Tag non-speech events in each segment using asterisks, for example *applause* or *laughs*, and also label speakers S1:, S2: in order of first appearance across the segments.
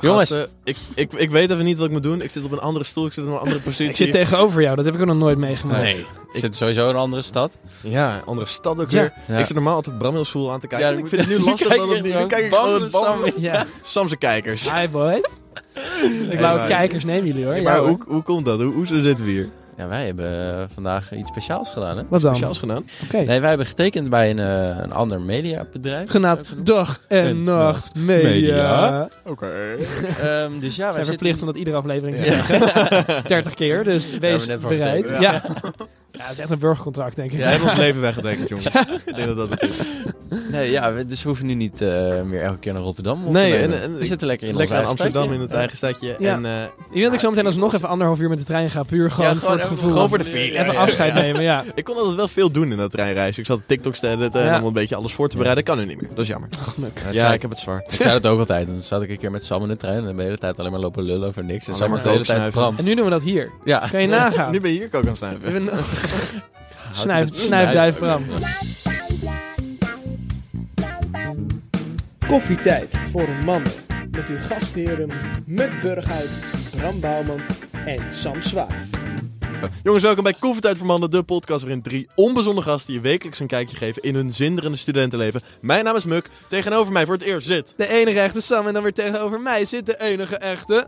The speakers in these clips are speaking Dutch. S1: Jongens.
S2: Gasten, ik, ik, ik weet even niet wat ik moet doen. Ik zit op een andere stoel, ik zit in een andere positie.
S3: *laughs* Ik zit tegenover jou, dat heb ik ook nog nooit meegemaakt.
S2: Nee.
S1: Ik zit sowieso in een andere stad.
S2: Ja, andere stad ook
S3: Ja.
S2: weer.
S1: Ja.
S2: Ik zit normaal altijd Bramwell's voel aan te kijken.
S1: Ja,
S2: en ik
S1: moet-
S2: vind het
S1: *laughs*
S2: nu
S1: je
S2: lastig
S1: kijkt
S2: dat het
S1: echt
S2: niet.
S1: zo.
S2: Nu kijk ik
S1: Bam,
S2: gewoon
S1: de
S2: Bram-
S3: Ja.
S2: Samse kijkers.
S3: Hi boys. Ik wou
S2: maar-
S3: kijkers nemen jullie hoor. Ja,
S2: maar
S3: hoor.
S2: hoe, hoe komt dat? Hoe, hoe zitten we hier?
S1: Ja, wij hebben eh, vandaag iets speciaals gedaan, hè?
S3: Wat dan? Oké.
S2: Speciaals gedaan?
S1: Nee, wij hebben getekend bij een, eh, een ander
S2: *laughs*
S1: mediabedrijf.
S3: Genaamd Dag en,
S1: En
S3: Nacht Media.
S1: Media.
S2: Oké.
S1: Ehm, dus ja,
S3: We
S1: wij
S3: zijn verplicht
S1: zitten...
S3: om dat iedere
S1: *laughs*
S3: aflevering te
S2: Ja.
S3: zeggen. 30 keer, dus wees
S1: net voor
S3: bereid. Ja.
S2: getekend.
S3: Ja. dat is echt een burgercontract, denk ik.
S2: Jij hebt ons leven weggetekend,
S1: *laughs*
S2: jongens. ik denk dat dat het is.
S1: *laughs* Nee, ja, we- dus we hoeven nu niet eh, meer elke keer naar Rotterdam op
S2: Nee,
S1: te nemen.
S2: en- en
S1: we
S2: ik-
S1: zitten lekker in
S2: Lekker
S1: ons
S2: in
S1: eigen
S2: Amsterdam
S1: stadje.
S2: in het eigen stadje.
S3: Ja.
S2: En, eh,
S3: Ik denk dat ik zo meteen alsnog even anderhalf uur met de trein ga. Puur gewoon,
S1: Ja,
S3: voor het
S1: even-
S3: gevoel.
S2: gewoon voor de
S3: Even
S2: feeling. Ja,
S3: even
S2: ja,
S3: afscheid
S2: ja.
S3: nemen, ja.
S2: Ik kon altijd wel veel doen in dat treinreis. Ik zat TikToks te editen en
S3: Ja.
S2: om een beetje alles voor te bereiden. Dat kan nu niet meer. Dat is jammer.
S1: Ja, het
S2: ja,
S1: zijn-
S2: ik heb het zwaar.
S1: Ik zei dat ook altijd. Dan zat ik een keer met Sam in de trein en de hele tijd alleen maar lopen lullen over niks. En
S2: Alleen
S1: Sam
S2: maar
S1: was de hele tijd
S2: doodsnuiven.
S1: Bram.
S3: En nu doen we dat hier.
S1: Ja.
S3: Kan je nagaan?
S2: Nu ben je hier ook aan het
S3: We
S2: snuiven.
S3: hebben-
S1: Houdt
S3: Snuif-
S1: het-
S3: snuifduif Bram. Koffietijd voor mannen. Met uw gastheren Muk Burghuis, Bram Bouwman en Sam Zwaar.
S2: Jongens, welkom bij Koffietijd voor Mannen, de podcast waarin drie onbezonnen gasten je wekelijks een kijkje geven in hun zinderende studentenleven. Mijn naam is Muk. Tegenover mij voor het eerst zit...
S3: De enige echte Sam en dan weer tegenover mij zit de enige echte...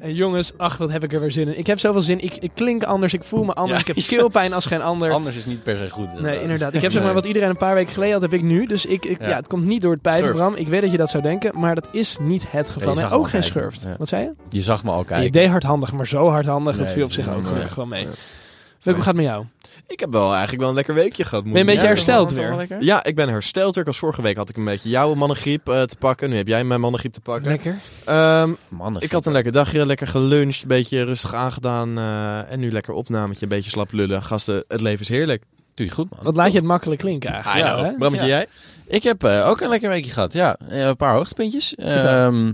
S3: En jongens, ach, wat heb ik er weer zin in. Ik heb zoveel zin. Ik, ik klink anders, ik voel me anders.
S1: Ja.
S3: Ik heb keelpijn als geen ander.
S1: *laughs* Anders is niet per se goed.
S3: Nee,
S1: *laughs*
S3: inderdaad. Ik heb zeg maar
S2: Nee.
S3: wat iedereen een paar weken geleden had, heb ik nu. Dus ik, ik- ja.
S1: Ja.
S3: het komt niet door het pijpen,
S2: Schurft.
S3: Bram. Ik weet dat je dat zou denken, maar dat is niet het
S1: Ja,
S3: geval.
S1: je
S3: en
S1: zag
S3: ook
S1: wel
S3: geen
S1: kijken.
S3: schurft.
S1: Ja.
S3: Wat zei je?
S1: Je zag me al
S3: Ja, je
S1: kijken.
S3: deed hardhandig, maar zo hardhandig.
S1: Nee,
S3: dat viel op
S1: dat
S3: zich
S1: is
S3: ook
S1: niet
S3: gelukkig
S1: mooi.
S3: wel mee.
S2: Ja.
S3: Welke hoe gaat het met jou?
S2: Ik heb wel eigenlijk wel een lekker weekje gehad. moet
S3: Ben je een
S2: ik
S3: beetje
S2: zeggen.
S3: hersteld weer?
S2: Ja, ik ben hersteld. weer. Ik was vorige week had ik een beetje jouw mannengriep eh, te pakken. Nu heb jij mijn mannengriep te pakken.
S3: Lekker.
S2: Ehm,
S1: Mannen.
S2: ik had een lekker dagje, lekker geluncht, een beetje rustig aangedaan. eh, en nu lekker opnametje, een beetje slap lullen. Gasten, het leven is heerlijk.
S1: Doe je goed, man.
S3: Wat laat je het makkelijk klinken eigenlijk.
S1: I know.
S3: hè?
S2: Brammetje,
S1: Ja.
S2: jij?
S1: Ik heb eh, ook een lekker weekje gehad. Ja, Eh, een paar hoogtepuntjes.
S3: Vertel.
S1: Ehm,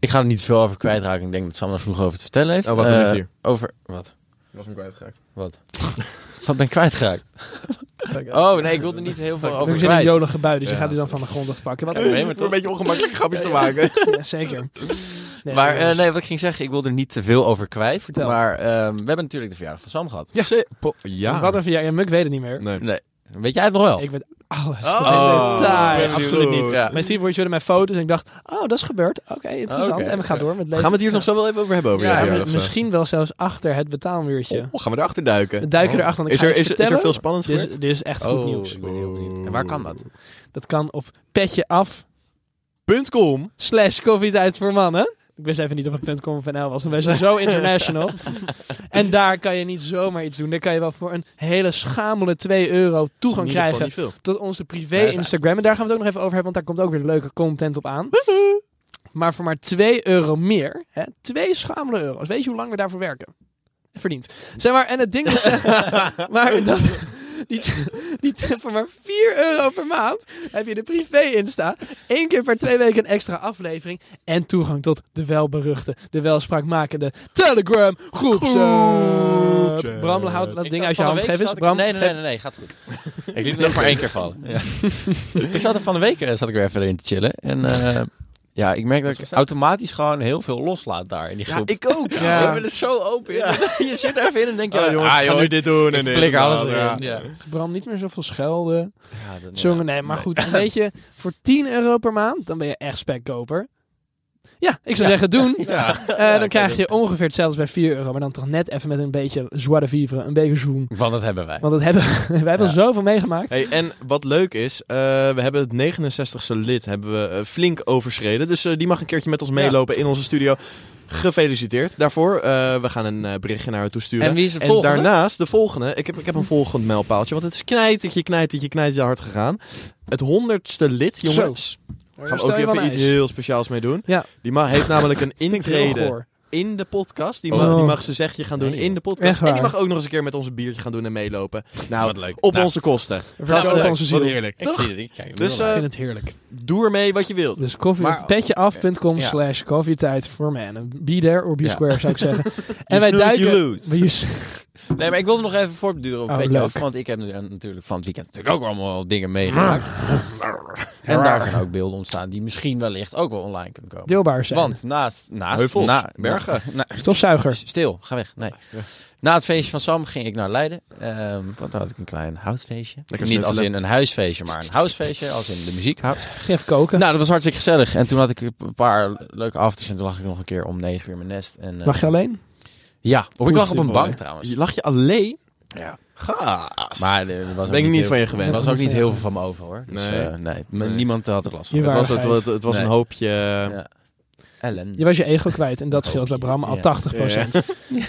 S1: ik ga er niet veel over kwijtraken. Ik denk dat Sam er vroeg over te vertellen heeft.
S2: Oh, wat
S1: Eh,
S2: gebeurt hier?
S1: Over... Wat?
S2: Ik was me kwijtgeraakt.
S1: Wat ben ik kwijtgeraakt? Oh, nee, ik wilde niet heel veel
S3: We
S1: over
S3: zitten in een
S1: kwijt.
S3: jolige bui, dus je
S2: Ja,
S3: gaat die dan van de grond afpakken. Wat
S1: Ja, nee, maar
S2: Om een beetje ongemakkelijke grapjes te maken.
S3: *laughs* ja, zeker. Nee,
S1: maar eh,
S3: jongens.
S1: nee, wat ik ging zeggen, ik wilde er niet te veel over kwijt.
S3: Vertel.
S1: Maar ehm, we hebben natuurlijk de verjaardag van Sam gehad.
S3: Ja.
S2: Se- po- ja.
S3: Wat een verjaardag. Ja, Muk weet het niet meer.
S2: Nee.
S1: Nee, weet jij het nog wel?
S3: Ik weet alles.
S1: Oh.
S3: tot in detail.
S1: Ik ben absoluut
S2: Goed.
S1: niet. Ja.
S3: Mijn Steve stuurde mij foto's en ik dacht, oh, dat is gebeurd. Oké, interessant.
S1: Oké.
S3: En we gaan door met leven.
S2: Gaan we het hier nog zo wel even over hebben? Over
S3: Ja,
S2: jouw
S3: maar
S2: verjaardag, zo?
S3: misschien wel zelfs achter het betaalmuurtje.
S2: Oh, gaan we erachter duiken?
S3: We duiken
S1: Oh.
S3: erachter, want ik
S2: Is
S3: ga
S2: er,
S3: iets
S2: is, is er
S3: vertellen. Dus
S2: veel spannends
S3: Dit is,
S2: gebeurd?
S3: dit is echt goed
S1: Oh,
S3: nieuws.
S1: ik ben heel benieuwd. En waar kan dat?
S3: Dat kan op petjeaf
S2: Punt .com.
S3: slash koffietijd voor mannen. Ik wist even niet of het .com of NL was, dan was je
S2: *laughs*
S3: zo international. en daar kan je niet zomaar iets doen. Daar kan je wel voor een hele schamele 2 euro toegang
S2: In ieder geval
S3: krijgen
S2: niet veel.
S3: tot onze privé
S1: Ja, dat is
S3: Instagram. En daar gaan we het ook nog even over hebben, want daar komt ook weer leuke content op aan. Maar voor maar 2 euro meer, hè, 2 schamele euro's. Weet je hoe lang we daarvoor werken? Verdiend. Zeg maar, en het ding is... maar dat, die, t- die t- voor maar 4 euro per maand heb je de privé Insta. Eén keer per twee weken een extra aflevering. En toegang tot de welberuchte, de welspraakmakende Telegram groepsapp.
S2: Groepsapp.
S3: Bram, houd dat
S1: Ik
S3: ding
S1: zat
S3: uit je
S1: van
S3: hand.
S1: de week
S3: Geef eens,
S1: zat ik-
S3: Bram.
S1: Nee, nee,
S3: geef-
S1: nee, nee, nee, gaat goed. ik liet nog maar één keer vallen. Ja. *laughs* ik zat er van de week eh, zat ik weer even in te chillen. En eh, ja, ik merk dat ik automatisch gewoon heel veel loslaat daar in die groep.
S2: ik ook.
S3: Ja.
S1: Ik ben er zo open in. *laughs* je zit er even in en denk je,
S2: Ja, jongens,
S1: ah,
S2: ik ga
S1: joh,
S2: nu dit doen.
S1: ik
S2: en dit
S1: flikker
S2: en
S1: alles
S2: dat,
S1: erin.
S2: ja.
S1: Ja.
S3: Bram, niet meer zoveel schelden.
S1: Ja, dat-
S3: Zongen, nee, maar goed. Weet
S2: *laughs*
S3: je, voor 10 euro per maand, dan ben je echt spekkoper. Ja, ik zou
S2: *laughs*
S3: zeggen, doen.
S1: Ja.
S3: Eh, dan krijg je ongeveer hetzelfde als bij 4 euro. Maar dan toch net even met een beetje joie de vivre, een beetje zoen.
S1: Want dat hebben wij.
S3: Want dat hebben, *laughs* wij hebben
S1: Ja.
S3: zoveel meegemaakt.
S2: Hey, en wat leuk is, eh, we hebben het 69ste lid hebben we, eh, flink overschreden. Dus eh, die mag een keertje met ons meelopen in onze studio. Gefeliciteerd daarvoor. Eh, we gaan een eh, berichtje naar haar toe sturen.
S1: En wie is de volgende?
S2: daarnaast, de volgende. Ik heb, ik heb een volgend mijlpaaltje. Want het is knijtertje, knijtertje, knijtertje hard gegaan. Het 100ste lid, jongens.
S3: Daar
S2: Gaan we
S3: stel
S2: ook
S3: je wel
S2: even
S3: een
S2: iets
S3: ijs.
S2: heel speciaals mee doen.
S3: Ja.
S2: Die ma heeft namelijk
S3: *laughs*
S2: een
S3: Klinkt heel
S2: intrede
S3: goor.
S2: in de podcast. Die,
S3: Oh.
S2: ma die mag ze zegje gaan doen
S1: Nee, joh.
S2: in de
S3: Echt
S2: podcast.
S3: waar.
S2: En die mag ook nog eens een keer met ons een biertje gaan doen en meelopen. Nou,
S1: wat leuk.
S2: op
S1: Nou,
S2: onze kosten.
S3: Vertel
S2: Gasten,
S3: op onze ziel.
S2: wat
S3: Ik
S2: heerlijk.
S1: Ik
S2: Toch?
S1: zie het. Ik kijk er
S2: Dus,
S1: wel
S2: eh,
S1: naar
S3: vind het heerlijk.
S2: Doe ermee wat je wilt.
S3: Dus koffie,
S1: maar-
S3: petjeaf.com
S1: Ja.
S3: slash koffietijd voor mannen. Be there or be
S1: Ja.
S2: *laughs*
S3: square, zou ik zeggen.
S2: You
S3: en wij
S2: snooze, you
S3: duiken...
S2: lose.
S3: We- *laughs* you s-
S1: Nee, maar ik wilde nog even voortduren op een
S3: Oh,
S1: beetje
S3: leuk.
S1: af. Want ik heb nu, eh, natuurlijk van het weekend natuurlijk ook allemaal dingen
S3: *laughs*
S1: meegemaakt. en daar zijn ook beelden ontstaan die misschien wellicht ook wel online kunnen komen.
S3: Deelbaar zijn.
S1: Want naast... naast
S2: Heuvels,
S1: na-
S2: bergen.
S1: na- na-
S2: *laughs*
S3: Stofzuiger.
S1: Stil, ga weg. Nee. Na het feestje van Sam ging ik naar Leiden. Ehm want daar had ik een klein housefeestje.
S2: Lekker
S1: Niet als in
S2: snuffelen.
S1: een huisfeestje, maar een housefeestje. Als in de muziekhouse.
S3: Geef
S1: *laughs*
S3: koken.
S1: Nou, dat was hartstikke gezellig. En toen had ik een paar leuke afters. En toen lag ik nog een keer om negen uur in mijn nest. En, eh,
S3: Mag je alleen?
S1: Ja, ik lag op een
S2: Oeh,
S1: bank
S2: hè?
S1: trouwens.
S2: Je lag je alleen?
S1: Ja.
S2: Gaast.
S1: Maar eh, er was ook
S2: ben ik niet
S1: heel-
S2: van je
S1: Er
S2: gewend.
S1: was ook niet heel veel van me over hoor. Dus,
S2: Nee.
S1: eh, nee. m-
S2: Nee.
S1: niemand had er last van.
S3: Je
S2: Het was, het,
S3: Waarheid.
S2: het, het was
S1: Nee.
S2: een hoopje... eh,
S1: Ja. Ellen.
S3: Je was je ego kwijt en dat scheelt bij Bram al
S1: Ja.
S3: 80%.
S2: Ja.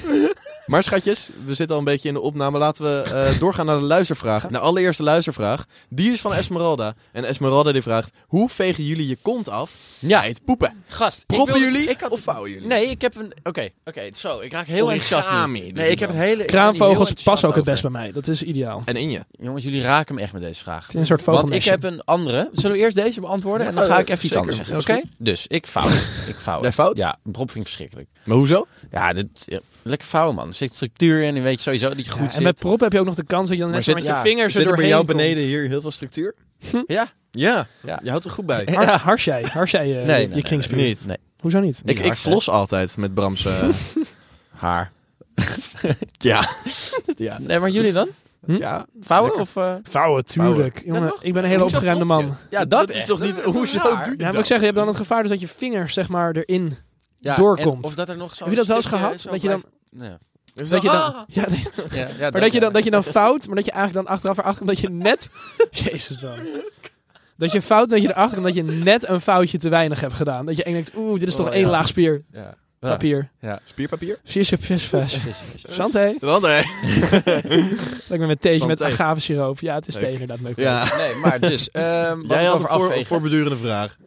S2: Maar schatjes, we zitten al een beetje in de opname. Laten we eh, doorgaan naar de luistervraag. Naar allereerste luistervraag. Die is van Esmeralda. En Esmeralda die vraagt... Hoe vegen jullie je kont af
S1: Ja,
S2: bij het poepen?
S1: gast. ik
S2: Proppen
S1: wilde-
S2: jullie
S1: ik had-
S2: of vouwen jullie?
S1: Nee, ik heb een... Oké, oké. zo, ik raak heel enthousiast
S2: Origami
S1: nu.
S2: doe
S1: Nee,
S2: je
S1: ik heb een
S2: dan.
S1: hele... ik ben hier heel
S3: Kraanvogels
S1: enthousiast
S3: passen ook het
S1: over.
S3: best bij mij. Dat is ideaal.
S2: En in je.
S1: Jongens, jullie raken me echt met deze vraag.
S3: Het is een soort
S1: Want ik
S3: vogelnestje.
S1: heb een andere. Zullen we eerst deze beantwoorden? En dan
S2: Ja,
S1: ga
S2: eh,
S1: ik even iets
S2: zeker.
S1: anders zeggen.
S2: Ja, is
S1: Oké? Dus, ik vouw. ik vouw.
S2: Jij vouwt?
S1: Ja, Rob vind ik verschrikkelijk.
S2: Maar hoezo?
S1: Ja, dit, ja, lekker vouwen, man. Er zit structuur in en weet je sowieso dat je
S3: Ja,
S1: goed
S3: en
S1: zit.
S3: met prop heb je ook nog de kans dat je dan
S1: Maar
S3: net zo
S1: zit-
S3: met je
S1: ja,
S3: vingers
S2: Zit
S3: er
S2: er
S3: doorheen
S2: bij jou
S3: komt.
S2: beneden hier heel veel structuur?
S1: Ja?
S3: Eh,
S2: Ja.
S1: Ja.
S2: Je houdt er goed bij.
S3: Har, hars jij, hars jij eh, je,
S1: Nee,
S3: je
S1: nee, nee,
S3: kringspier?
S1: nee,
S2: Niet.
S1: Nee.
S3: Hoezo niet?
S1: Niet
S2: Ik, ik
S1: hard, hè?
S2: flos altijd met Brams... eh,
S1: Haar.
S2: ja. ja.
S1: Nee, maar jullie dan?
S2: Ja.
S1: Vouwen of... eh?
S3: Vouwen, tuurlijk. Jongen,
S1: Ja, toch?
S3: ik ben een hele
S2: Hoezo
S3: opgeruimde
S2: prop je?
S3: man.
S1: Ja, dat,
S2: is
S1: echt.
S2: toch niet-
S1: is
S2: hoezo
S1: raar?
S2: doe je-
S3: Ja, moet ik zeggen, je hebt dan het gevaar dus dat je vingers zeg maar erin...
S1: Ja,
S3: doorkomt.
S1: en of dat er nog zo
S3: Heb je dat wel eens
S1: stukje
S3: gehad?
S1: zo
S3: Dat je dan-
S1: blijft-
S3: Dat je dan,
S1: Ja.
S3: ja,
S1: Ja, Ah! ja,
S3: maar dat je, dan, dat je dan fout, maar dat je eigenlijk dan achteraf erachter komt dat je
S1: *laughs*
S3: net... Jezus dan. Dat je fout, dat je erachter komt dat je net een foutje te weinig hebt gedaan. Dat je eng denkt, oeh, dit is toch
S1: Oh,
S3: één
S1: ja.
S3: laag spier,
S1: Ja.
S3: papier.
S2: Spierpapier?
S3: Vis, vis, vis. Santé.
S2: Dan hè?
S3: Lekker met theetje met
S2: Santé.
S3: agave siroop. Ja, het is
S2: Leuk.
S3: thee inderdaad. Leuk.
S2: Ja.
S1: Nee, maar dus... ehm wat
S2: Jij
S1: het
S2: had
S1: over
S2: een voor,
S1: afvegen.
S2: voorbedurende vraag.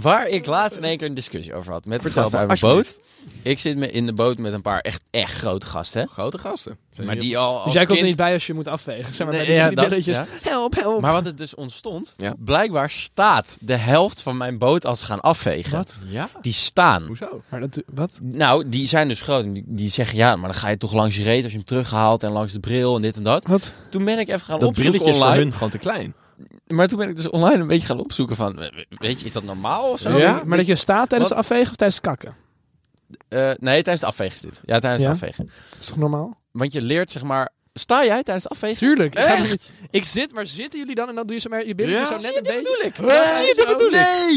S1: Waar ik laatst in één keer een discussie over had. Met
S2: Vertel
S1: Vertel gasten
S2: me,
S1: uit mijn boot. Ik zit me in de boot met een paar echt, echt grote gasten. hè.
S2: Grote gasten.
S1: Maar die al als
S3: Dus jij komt er
S1: kind-
S3: niet bij als je moet afwegen. Zeg maar,
S1: Nee,
S3: bij die,
S1: ja,
S3: die
S1: dat-
S3: belletjes.
S1: ja.
S3: Help, help.
S1: Maar wat het dus ontstond,
S2: Ja.
S1: blijkbaar staat de helft van mijn boot als ze gaan afvegen.
S3: Wat?
S2: Ja?
S1: Die staan.
S2: Hoezo?
S3: Maar dat, wat?
S1: Nou, die zijn dus groot. En die, die zeggen ja, maar dan ga je toch langs je reet als je hem terughaalt en langs de bril en dit en dat.
S3: Wat?
S1: Toen ben ik even gaan
S2: Dat
S1: opzoeken
S2: brilletje is voor
S1: online.
S2: hun gewoon te klein.
S1: Maar toen ben ik dus online een beetje gaan opzoeken van, we- weet je, is dat normaal of zo?
S2: Ja?
S3: maar dat je staat tijdens
S1: Wat?
S3: het afvegen of tijdens het kakken?
S1: Eh, nee, tijdens het afvegen is dit. Ja, tijdens
S3: Ja?
S1: het afvegen.
S3: Dat is toch normaal?
S1: Want je leert zeg maar, sta jij tijdens het afvegen? Eh,
S3: Tuurlijk. Ik, ga er
S1: Echt?
S3: niet- ik zit, maar zitten jullie dan en dan doe je zo maar je billen
S2: Ja?
S3: zo
S2: Zie
S3: net een beetje.
S1: ik.
S3: En dan ga je
S1: ik.
S3: zo-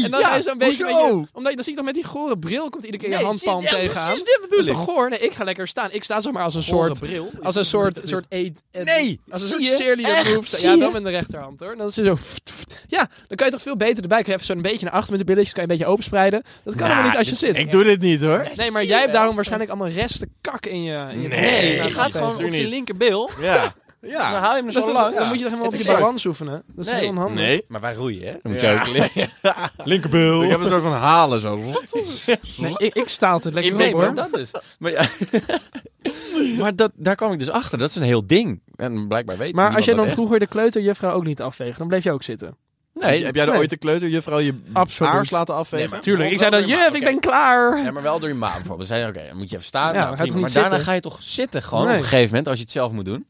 S3: En dan ga je zo'n beetje, met
S2: hoezo?
S3: je, omdat je, dan zie ik toch met die gore bril komt iedere keer
S1: Nee,
S3: je handpalm
S1: zie- ja,
S3: tegenaan.
S1: precies, dit bedoel
S3: dat is
S1: ik.
S3: toch goor? Nee, ik ga lekker staan. Ik sta zo maar als een soort,
S2: bril.
S3: als een soort, soort e- e-
S1: Nee,
S3: als
S1: zie
S3: een soort
S1: je? Echt,
S3: cheerleader move.
S1: zie
S3: Ja,
S1: je?
S3: dan met de rechterhand hoor. Dan is het zo. *laughs* Ja, dan kan je toch veel beter erbij. Kun je even zo'n beetje naar achter met de billetjes, kan je een beetje openspreiden. Dat kan
S1: Nou,
S3: helemaal niet als je
S1: dit-
S3: zit.
S2: Ik doe dit niet hoor.
S3: Nee, maar
S1: Zie
S3: jij
S1: je
S3: hebt
S1: wel.
S3: daarom waarschijnlijk allemaal resten kak in je. in je-
S2: Nee,
S1: Nee,
S3: Ja,
S1: je gaat
S3: oké.
S1: gewoon op
S2: natuurlijk
S1: je
S2: niet.
S1: linkerbil.
S2: *laughs* Ja.
S1: En dan
S2: Ja.
S1: haal je hem
S3: Dat
S1: zo
S3: is
S1: lang.
S3: toch- Dan moet je toch helemaal op je
S1: Exact.
S3: balans oefenen. Dat is
S1: Nee.
S3: heel onhandig.
S2: Nee.
S1: Maar wij roeien, hè? Dan moet
S2: Ja.
S1: je ook liggen. *laughs*
S2: Linkerbil. Ik heb een soort van halen zo.
S3: Nee, ik, ik sta altijd lekker
S1: Nee,
S3: op
S1: maar
S3: hoor.
S1: dat dus. Maar,
S3: *laughs*
S1: ja. maar dat, daar kwam ik dus achter. Dat is een heel ding. En blijkbaar weet
S3: Maar als
S1: niemand
S3: jij
S1: dat
S3: dan
S1: echt.
S3: vroeger de kleuterjuffrouw ook niet afveegt, dan bleef je ook zitten.
S1: Nee,
S2: heb jij er
S1: nee.
S2: ooit de kleuterjuffrouw je
S3: Absoluut.
S2: aars laten afvegen?
S1: Nee, maar-
S3: Tuurlijk, ik zei dan, juf, ik ben klaar.
S1: Ja, maar wel door je ma bijvoorbeeld. Dan zei je, oké, dan moet je even staan.
S3: Ja,
S1: nou,
S3: dan ga je
S1: prima.
S3: toch
S1: maar
S3: niet
S1: daarna
S3: zitten?
S1: ga je toch zitten gewoon
S3: Nee.
S1: op een gegeven moment als je het zelf moet doen.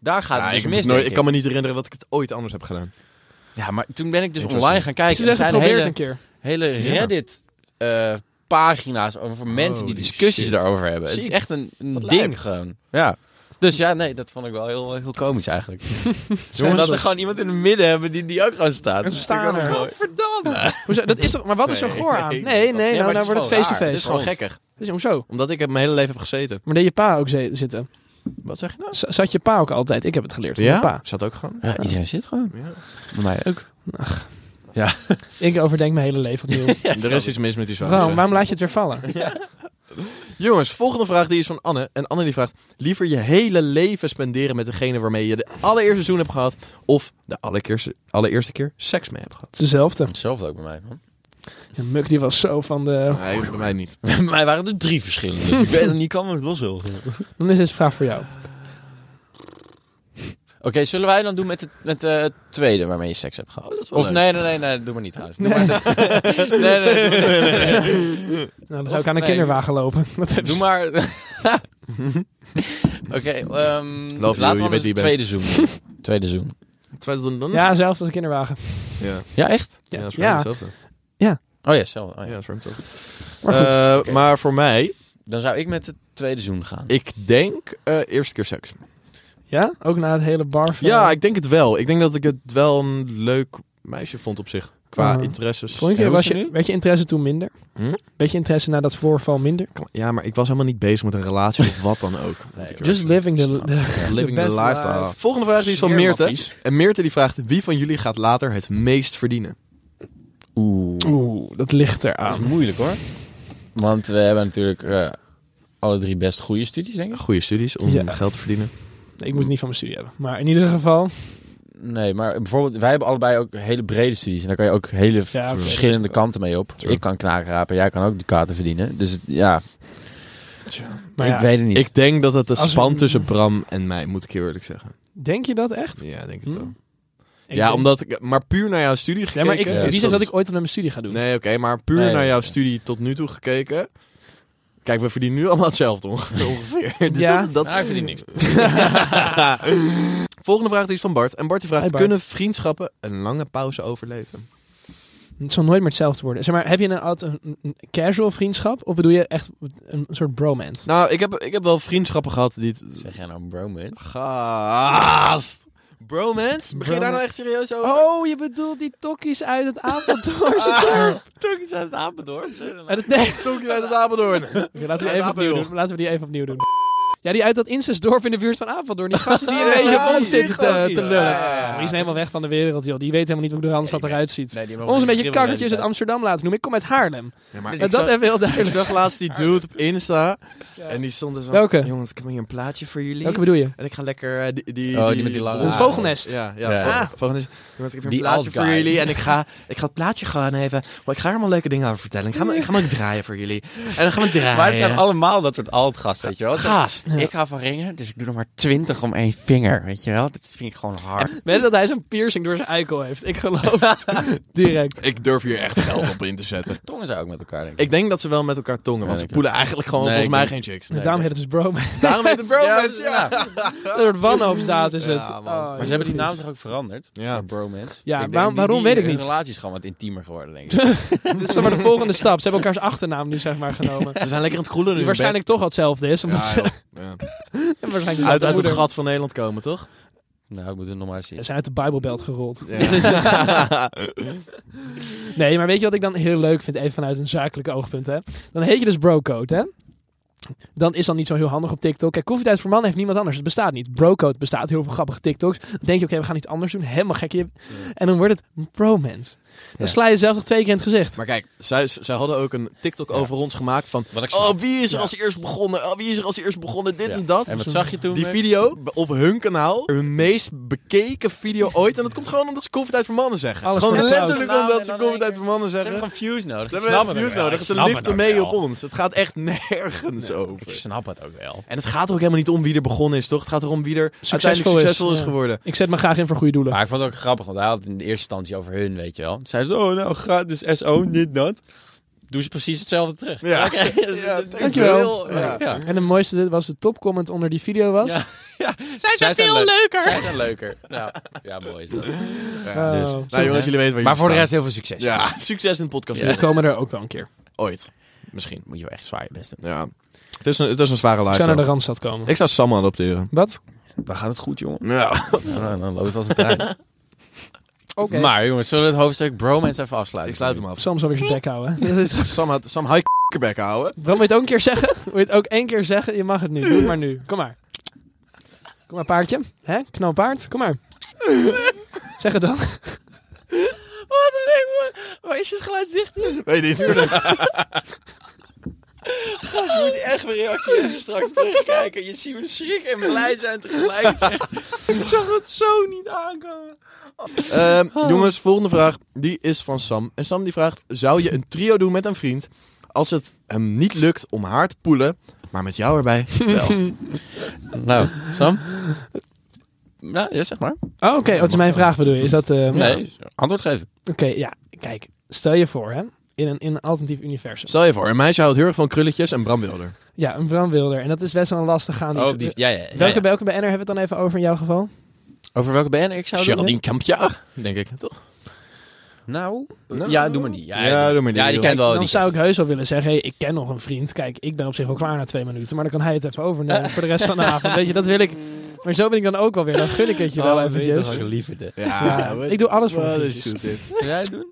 S1: Daar gaat
S2: Ja,
S1: het
S2: ik,
S1: dus
S2: heb
S1: mis.
S2: het nooit-
S1: denk
S2: ik kan me niet herinneren dat ik het ooit anders heb gedaan.
S1: Ja, maar toen ben ik dus
S2: Interesting.
S1: online gaan kijken.
S3: Ze
S1: en er
S3: zeggen,
S1: zijn
S3: probeer het
S1: hele,
S3: een keer.
S1: hele Reddit eh, pagina's over mensen die
S2: Holy
S1: discussies
S2: shit.
S1: daarover hebben. Het is
S2: Ziek.
S1: echt een, een
S2: Wat
S1: ding
S2: lijp.
S1: gewoon. Ja. Dus ja, nee, dat vond ik wel heel, heel komisch
S3: *laughs*
S1: eigenlijk. en dat er gewoon iemand in het midden hebben die, die ook gewoon staat.
S3: Een staaner.
S1: Wat verdamme.
S3: Hoezo? Dat is toch, maar wat is er
S2: Nee,
S3: goor aan? Nee,
S2: nee.
S3: nee,
S1: maar
S3: nou,
S1: het
S3: nou
S1: is
S3: wordt het
S1: gewoon
S3: feest
S1: raar.
S2: Het is
S3: feest.
S2: gewoon
S1: Oh.
S2: gekker.
S3: Dus hoezo?
S2: Omdat ik heb mijn hele leven heb gezeten.
S3: Maar deed je pa ook ze- zitten?
S2: Wat zeg je nou?
S3: Z- zat je pa ook altijd? Ik heb het geleerd van mijn pa.
S2: Zat ook gewoon.
S1: Ja, iedereen zit gewoon.
S2: Ja.
S1: Bij mij ook.
S3: Ik overdenk mijn hele
S1: *laughs*
S3: leven opnieuw.
S2: er is iets mis met die zwaar.
S3: Bram, waarom laat je het weer vallen?
S2: Jongens, volgende vraag die is van Anne. En Anne die vraagt: liever je hele leven spenderen met degene waarmee je de allereerste seizoen hebt gehad. of de allereerste, allereerste keer seks mee hebt gehad?
S3: Het is hetzelfde.
S1: Hetzelfde ook bij mij, man. *laughs*
S3: Ja, Muk die was zo van de...
S2: Nee, bij mij niet.
S1: Bij mij waren er drie verschillende. ik weet het niet, kan me het wel zo.
S3: Dan is dit een vraag voor jou.
S1: Oké, zullen wij dan doen met, het, met eh, het tweede waarmee je seks hebt
S2: Oh, dat
S1: gehad?
S2: is wel
S1: of
S2: leuk.
S1: nee, nee, nee, nee, doe maar niet trouwens. Doe maar *laughs* de- nee, nee, doe maar-
S3: Nou, dan
S1: Of-
S3: zou ik aan een
S1: nee.
S3: kinderwagen lopen. *laughs* Dat heb
S1: Doe
S2: *laughs*
S3: je-
S1: maar. Oké, ehm
S2: you,
S1: laten we
S2: je
S1: dan
S2: weet
S1: eens
S2: wie je
S1: het tweede zoen. doen. tweede zoen.
S2: Terwijl dan- dan-
S3: Ja, zelfs als een kinderwagen.
S2: Ja,
S1: Ja, echt?
S2: ja, dat is voor hem
S3: ja.
S2: hetzelfde.
S1: Oh ja, zo. oh
S2: Ja,
S1: ja.
S2: dat is voor hem hetzelfde.
S3: maar goed.
S2: Eh, Maar voor mij,
S1: Dan zou ik met het tweede zoen gaan.
S2: ik denk eh, eerste keer seks.
S3: ja, ook na het hele bar.
S2: Ja, ik denk het wel. Ik denk dat ik het wel een leuk meisje vond op zich. Qua
S3: Ah.
S2: interesses.
S3: Volgende
S1: En
S3: keer
S1: hoe
S3: was
S1: is ze
S3: je,
S1: nu?
S3: werd je interesse toen minder?
S2: Hm?
S3: Beetje interesse na dat voorval minder?
S2: Kom- Ja, maar ik was helemaal niet bezig met een relatie of wat dan ook.
S1: Nee,
S2: Moet ik
S3: Just living the,
S1: Snap.
S3: the- the
S2: Living the
S3: best
S2: lifestyle.
S3: life.
S2: Volgende vraag die is van Meerte. En Meerte die vraagt, wie van jullie gaat later het meest verdienen?
S1: Oeh.
S3: *laughs* Oeh, dat ligt
S1: Dat
S3: eraan.
S1: is moeilijk hoor. Want we hebben natuurlijk eh, alle drie best goede studies, denk ik.
S2: Goede studies om
S3: Ja.
S2: geld te verdienen.
S3: Ik moet het niet van mijn studie hebben. Maar in ieder geval,
S1: Nee, maar bijvoorbeeld, wij hebben allebei ook hele brede studies. En daar kan je ook hele v-
S3: Ja,
S1: verschillende
S3: true.
S1: kanten mee op.
S2: True.
S1: Ik kan knaken rapen, jij kan ook ducaten verdienen. Dus het- ja,
S3: maar
S1: ik
S3: ja,
S1: weet het niet.
S2: Ik denk dat het een
S3: Als we-
S2: span tussen Bram en mij, moet ik heel eerlijk zeggen.
S3: denk je dat echt?
S2: Ja, ik denk het
S3: Hm?
S2: wel.
S3: Ik
S2: ja,
S3: denk-
S2: omdat ik, maar puur naar jouw studie
S3: Ja,
S2: gekeken.
S3: maar ik,
S1: Ja,
S3: wie
S2: is
S3: zegt dat ik ooit aan mijn studie ga doen?
S2: Nee, oké, maar puur
S1: Nee,
S2: naar jouw
S1: oké.
S2: studie tot nu toe gekeken. Kijk, we verdienen nu allemaal hetzelfde
S3: *laughs*
S2: onge- ongeveer. Dus
S3: Ja.
S2: dat, dat...
S1: Nou, ik verdien niks.
S2: *laughs* Volgende vraag die is van Bart. En Bart die vraagt,
S3: Hi, Bart.
S2: kunnen vriendschappen een lange pauze overleven?
S3: Het zal nooit meer hetzelfde worden. Zeg maar, heb je een, altijd een, een casual vriendschap? Of bedoel je echt een soort bromance?
S2: Nou, ik heb, ik heb wel vriendschappen gehad die... het-
S1: Zeg jij nou bromance?
S2: Gaast! Bromance? Begin je daar
S3: Bromance.
S2: nou echt serieus over? Ah.
S3: Oh, je bedoelt die tokkies uit
S2: *laughs*
S3: het Apeldoornse dorp.
S1: Toen is het Apeldoorn.
S3: Uit het- Nee.
S2: Tonkje uit het Apeldoorn.
S3: Oké, laten, we
S2: Uit
S3: die even
S2: Apeldoorn.
S3: opnieuw doen. laten we die even opnieuw doen. Ja, die uit dat incestdorp in de buurt van Apeldoorn. Die
S2: *laughs*
S3: gasten die een
S2: Ja,
S3: beetje op
S2: die
S3: ons zitten te,
S2: gastjes.
S3: te lullen.
S2: Ja, ja, ja.
S3: Maar Die is helemaal weg van de wereld, joh. Die weet helemaal niet hoe de Randstad
S1: Nee,
S3: eruit ziet. Ons een beetje kakkertjes uit Amsterdam laten noemen. Ik kom uit Haarlem.
S2: Ja, maar
S3: En
S2: ik,
S3: dat
S2: zag,
S3: even heel
S2: ik
S3: duidelijk.
S2: zag
S3: *laughs*
S2: laatst die dude op Insta. En die stond er zo...
S3: Welke?
S2: Jongens, ik heb hier een plaatje voor jullie.
S3: Welke bedoel je?
S2: En ik ga lekker... eh, die, die,
S1: Oh, die met die lange
S3: Het
S1: Ah,
S3: vogelnest. Ah.
S2: Ja, ja.
S1: Ja.
S2: vo- Volgende is... Jongens, ik heb hier
S1: Die
S2: een plaatje
S1: alt
S2: voor
S1: guy.
S2: jullie. En ik ga, ik ga het plaatje gewoon even... Maar ik ga er allemaal leuke dingen over vertellen. Ik ga, me- ik ga me ook draaien voor jullie. En dan gaan we draaien.
S1: Maar het zijn allemaal dat soort altgasten, weet je wel. Het zijn-
S2: Gaast.
S1: Ik hou van ringen, dus ik doe er maar 20 om één vinger, weet je wel. Dat vind ik gewoon hard.
S3: Weet je dat hij zijn piercing door zijn eikel heeft? Ik geloof het. *laughs* Direct.
S2: Ik durf hier echt geld op in te zetten.
S1: Tongen zijn ook met elkaar, denk ik.
S2: Ik denk dat ze wel met elkaar tongen, want
S1: Ja,
S2: ze
S1: ik-
S2: poelen eigenlijk gewoon
S1: Nee,
S2: volgens
S1: ik
S2: mij geen
S1: denk-
S2: chicks.
S1: Nee,
S3: Daarom
S1: ik
S3: heet het dus bromance.
S2: Daarom heet het bromance,
S1: *laughs* Ja,
S2: ja.
S1: ja.
S3: *laughs* Een soort wanhoopstaat is
S2: Ja,
S3: het. Oh,
S2: man.
S1: Maar ze hebben die naam toch ook veranderd?
S2: Ja.
S1: Naar bromance.
S3: Ja,
S2: Ik denk
S3: waarom,
S2: die-
S3: waarom
S2: die-
S3: weet ik
S1: De
S3: niet.
S1: relatie is gewoon wat intiemer geworden,
S3: *laughs*
S1: denk ik.
S3: Dit is dan maar de volgende stap. Ze hebben elkaars achternaam nu zeg maar genomen.
S2: Ze zijn lekker aan het kroelen nu
S3: Die
S2: in
S3: waarschijnlijk toch al hetzelfde is.
S2: bed.
S3: *laughs* Omdat ze, Dus
S2: Ja, joh.
S3: waarschijnlijk
S2: Ja. Uit,
S3: dezelfde
S2: uit het
S3: moeder.
S2: gat van Nederland komen,
S3: *laughs*
S2: toch?
S1: nou, ik moet het nog maar eens
S3: Ze
S1: zien.
S3: zijn uit de Bijbelbelt gerold.
S2: Ja.
S3: Nee, maar weet je wat ik dan heel leuk vind? Even vanuit een zakelijk oogpunt, hè? Dan heet je dus brocode, hè? Dan is dat niet zo heel handig op TikTok. Kijk, koffietijd voor mannen heeft niemand anders. Het bestaat niet. Brocode bestaat. Heel veel grappige TikToks. Dan denk je, oké, we gaan iets anders doen. Helemaal gekje. En dan wordt het bromance. Dan
S1: Ja.
S3: sla je zelf toch twee keer in het gezicht.
S2: maar kijk, zij, zij hadden ook een TikTok
S1: Ja.
S2: over ons gemaakt van...
S1: Wat ik
S2: Oh,
S1: snap.
S2: wie is er
S3: Ja.
S2: als eerst begonnen? Oh, wie is er als eerst begonnen? Dit
S1: Ja.
S2: en dat.
S1: En wat zag je toen?
S2: Die
S1: eh?
S2: video op hun kanaal, hun meest bekeken video ooit. En dat komt gewoon omdat ze koffietijd voor mannen zeggen.
S3: Alles
S2: gewoon
S3: vertrouwd.
S2: letterlijk
S1: Nou,
S2: omdat
S1: en
S2: ze
S1: dan
S2: koffietijd
S1: één
S2: voor mannen
S1: Ze hebben
S2: zeggen.
S1: gewoon views nodig.
S2: Ze
S1: Ik
S2: hebben echt
S1: snap
S2: views
S1: het ook wel.
S2: nodig.
S1: Ik
S2: Ze
S1: snap het
S2: liften
S1: ook
S2: mee
S1: wel.
S2: op ons. Het gaat echt nergens
S1: Ik
S2: over.
S1: snap het ook wel.
S2: En het gaat ook helemaal niet om wie er begonnen is, toch? Het gaat erom wie er uiteindelijk
S3: is,
S2: succesvol is,
S3: ja.
S2: geworden.
S3: Ik zet me graag in voor goede doelen.
S1: Maar ik vond het ook grappig, want hij had het in de eerste instantie over hun, weet je wel. Toen zei ze, oh nou, gratis SO, dit, dat. Doen ze precies hetzelfde terug. *laughs*
S2: Ja.
S1: Oké, dus het-
S2: Ja,
S1: het is
S3: dankjewel.
S1: heel-
S2: Ja.
S1: Ja.
S3: En de mooiste was de topcomment onder die video was.
S1: Ja.
S3: Zij zijn veel
S1: leuk.
S3: leuker.
S1: Zij zijn leuker. Nou, ja, mooi is dat.
S3: Oh.
S1: dus.
S2: Nou jongens, jullie weten waar
S1: Maar voor de
S2: jullie
S1: rest heel veel succes.
S2: staan. Ja, succes in het podcast.
S3: We komen er ook wel een keer.
S2: Ooit. Misschien.
S1: Moet je wel echt zwaar je best doen.
S2: Ja. Het is een, het is een zware
S3: Ik zou naar
S2: lifestyle.
S3: de Randstad komen.
S2: Ik zou Sam adopteren.
S3: Wat?
S1: Dan gaat het goed, jongen.
S2: Ja.
S1: Nou, dan loopt het als een trein.
S3: *laughs* Oké.
S1: Maar jongens, zullen we het hoofdstuk bromance even afsluiten?
S2: Ik sluit hem af.
S3: Sam zal weer zijn bek houden. Dat is-
S2: Sam, had- Sam hou je bek houden.
S3: Bram, wil je het ook een keer zeggen? Wil je het ook één keer zeggen? Je mag het nu. Doe het maar nu. Kom maar. Kom maar, paardje. Hè? Knal paard. Kom maar. Zeg het dan.
S1: Wat een leuk Waar is het geluid dicht?
S2: Weet je niet.
S1: Je moet echt mijn reactie even straks terugkijken. Je ziet me schrik en blij zijn tegelijk. *laughs* Ik zag het zo niet aankomen.
S2: Ehm, jongens, volgende vraag. Die is van Sam. En Sam die vraagt, zou je een trio doen met een vriend als het hem niet lukt om haar te poelen, maar met jou erbij wel?
S1: Nou, Sam? Nou, ja, zeg maar.
S3: Oh, oké. Oh, dat is mijn vraag, bedoel je? Is dat... eh,
S1: Nee, antwoord geven.
S3: Oké, ja. Kijk, stel je voor, hè. In een, in een alternatief universum.
S2: Stel je voor, een meisje houdt heel erg van krulletjes en Bram Wilder.
S3: Ja, een brandwilder. En dat is best wel een lastig aan.
S1: Oh, die, ja, ja, ja,
S3: welke,
S1: ja. Oh,
S3: welke BN'er hebben we het dan even over in jouw geval?
S1: Over welke BN'er ik zou doen?
S2: Geraldine Kampjaar, denk ik, toch?
S1: Nou,
S2: Nou.
S1: ja, doe maar die. Ja,
S2: Ja, doe maar die.
S1: Ja, die kent wel.
S3: dan
S1: Die
S3: zou ik heus wel willen zeggen, hey, ik ken nog een vriend. Kijk, ik ben op zich al klaar na twee minuten. Maar dan kan hij het even overnemen voor de rest van *laughs* de avond. Weet je, dat wil ik. Maar zo ben ik dan ook wel weer. Dan gun ik het
S1: Oh,
S3: je wel eventjes.
S1: liefde.
S3: Ja, ik doe alles voor mijn vriendjes.
S1: Zou jij het doen?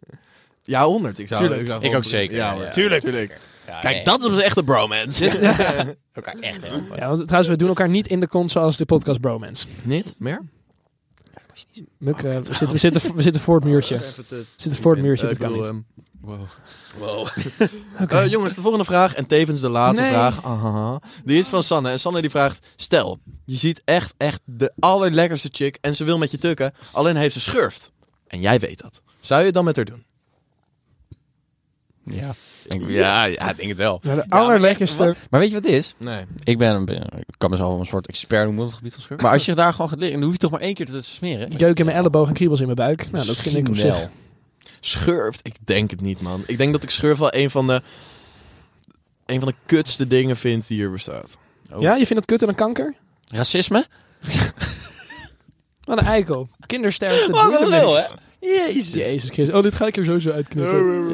S2: Ja, 100. Ik zou
S1: Tuurlijk.
S2: zou
S1: Ik
S2: gewoon-
S1: ook zeker,
S2: Ja,
S1: ja,
S2: hoor.
S1: ja.
S2: Tuurlijk. tuurlijk.
S1: Ja,
S2: Kijk,
S1: nee.
S2: dat is echt een bromance.
S1: Elkaar echt helemaal.
S3: Ja, want trouwens, we doen elkaar niet in de kont zoals de podcast Bromance.
S2: *laughs* Niet meer?
S3: Muk, eh, we, zitten, we, zitten, we zitten voor het muurtje.
S2: Oh, even te-
S3: We zitten voor het muurtje,
S2: Eh,
S3: dat
S2: ik
S3: kan
S2: bedoel,
S3: niet.
S2: ehm, Wow. *laughs*
S3: *laughs*
S2: Eh, jongens, de volgende vraag en tevens de laatste
S3: Nee.
S2: vraag. Aha. Die is van Sanne. En Sanne die vraagt, stel, je ziet echt, echt de allerlekkerste chick en ze wil met je tukken, alleen heeft ze schurft. En jij weet dat. Zou je het dan met haar doen?
S1: Ja. ja, ja, ik denk het wel.
S3: Ja, de allerlekkerste.
S1: Maar weet je wat het is?
S2: Nee.
S1: Ik ben, een- ik kan mezelf wel een soort expert noemen op het gebied van schurken. Maar als je daar gewoon gaat liggen, dan hoef je toch maar één keer te smeren.
S3: Jeuk in mijn elleboog en kriebels in mijn buik. Nou, dat vind ik op
S1: Misschien
S3: zich.
S2: Schurft? Ik denk het niet, man. Ik denk dat ik schurft wel een van de, een van de kutste dingen vind die hier
S3: *laughs*
S2: bestaat.
S1: Oh.
S3: Ja, je vindt dat kut en een kanker?
S1: Racisme? *laughs*
S3: Wat een eikel. Kindersterfte.
S1: Wat
S3: doet
S1: een
S3: er
S1: lul, hè?
S3: niks.
S1: Jezus. Oh,
S3: Jezus Christus. Oh, dit ga ik er sowieso uitknippen.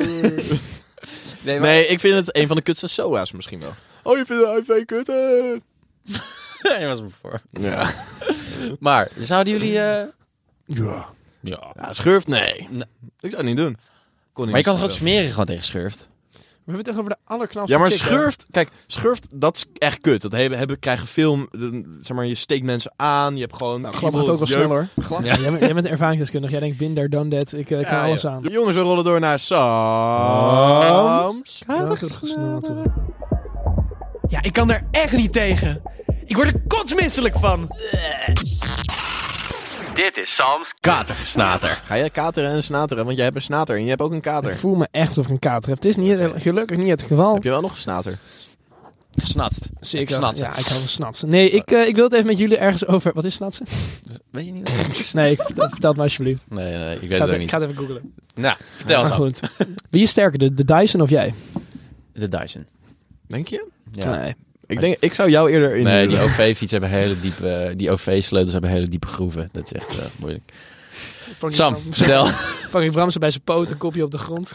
S1: Nee, maar...
S2: Nee, ik vind het een van de kutste SOA's misschien wel. Oh, je vindt de IV kut? eh?
S1: je was me voor.
S2: Ja.
S1: Maar, zouden jullie... eh,
S2: ja.
S1: Ja.
S2: schurft? Nee.
S1: Nee.
S2: Ik zou het niet doen. Kon
S1: Maar je kan
S2: niet
S1: toch ook smeren gewoon tegen schurft?
S3: We hebben het echt over de allerknapste
S2: Ja, maar
S3: chick, hè?
S2: schurft, kijk, schurft, dat is echt kut. Dat hebben, hebben krijgen film, zeg maar, je steekt mensen aan, je hebt gewoon...
S3: Nou, glad gaat ook wel sneller.
S2: Glad-
S3: Ja, jij, bent, jij bent een ervaringsdeskundige. Jij denkt, binder, dan dat. Ik eh, kan
S1: Ja,
S3: alles
S1: ja.
S3: aan.
S2: Jongens, we rollen door naar Sams.
S3: Gaat het gesneld, hoor.
S4: Ja, ik kan er echt niet tegen. Ik word er kotsmisselijk van.
S5: Dit is Sam's
S2: Katergesnater. Ga je kateren en snateren, want jij hebt een snater en je hebt ook een
S3: Ik
S2: kater.
S3: voel me echt alsof ik een kater heb. Het is niet, gelukkig niet het geval.
S2: Heb je wel nog een snater?
S1: Gesnatst.
S3: Zeker.
S1: Snatsen.
S3: Ja, ik hou van snatsen. Nee, ik, eh, ik wil het even met jullie ergens over... Wat is snatsen?
S1: Weet je niet wat het is?
S3: Nee, ik, vertel, vertel het me alsjeblieft. Ik
S1: *laughs* Nee, nee, ik
S3: ga
S1: weet
S3: het,
S1: het
S3: e-
S1: ook
S3: ik
S1: niet.
S3: ga het even googlen.
S1: Nou, vertel
S3: Maar
S1: eens aan.
S3: goed. Wie is sterker, de, de Dyson of jij?
S1: De Dyson.
S2: Denk je?
S1: Ja.
S3: Nee.
S2: Ik, denk, ik zou jou eerder in
S1: Nee,
S2: de-
S1: die OV-fiets hebben hele diepe... eh, Die OV-sleutels hebben hele diepe groeven. Dat is echt eh, moeilijk. Sam,
S6: *laughs*
S1: vertel.
S3: Pak ik Bramsen bij zijn poot, een kopje op de grond.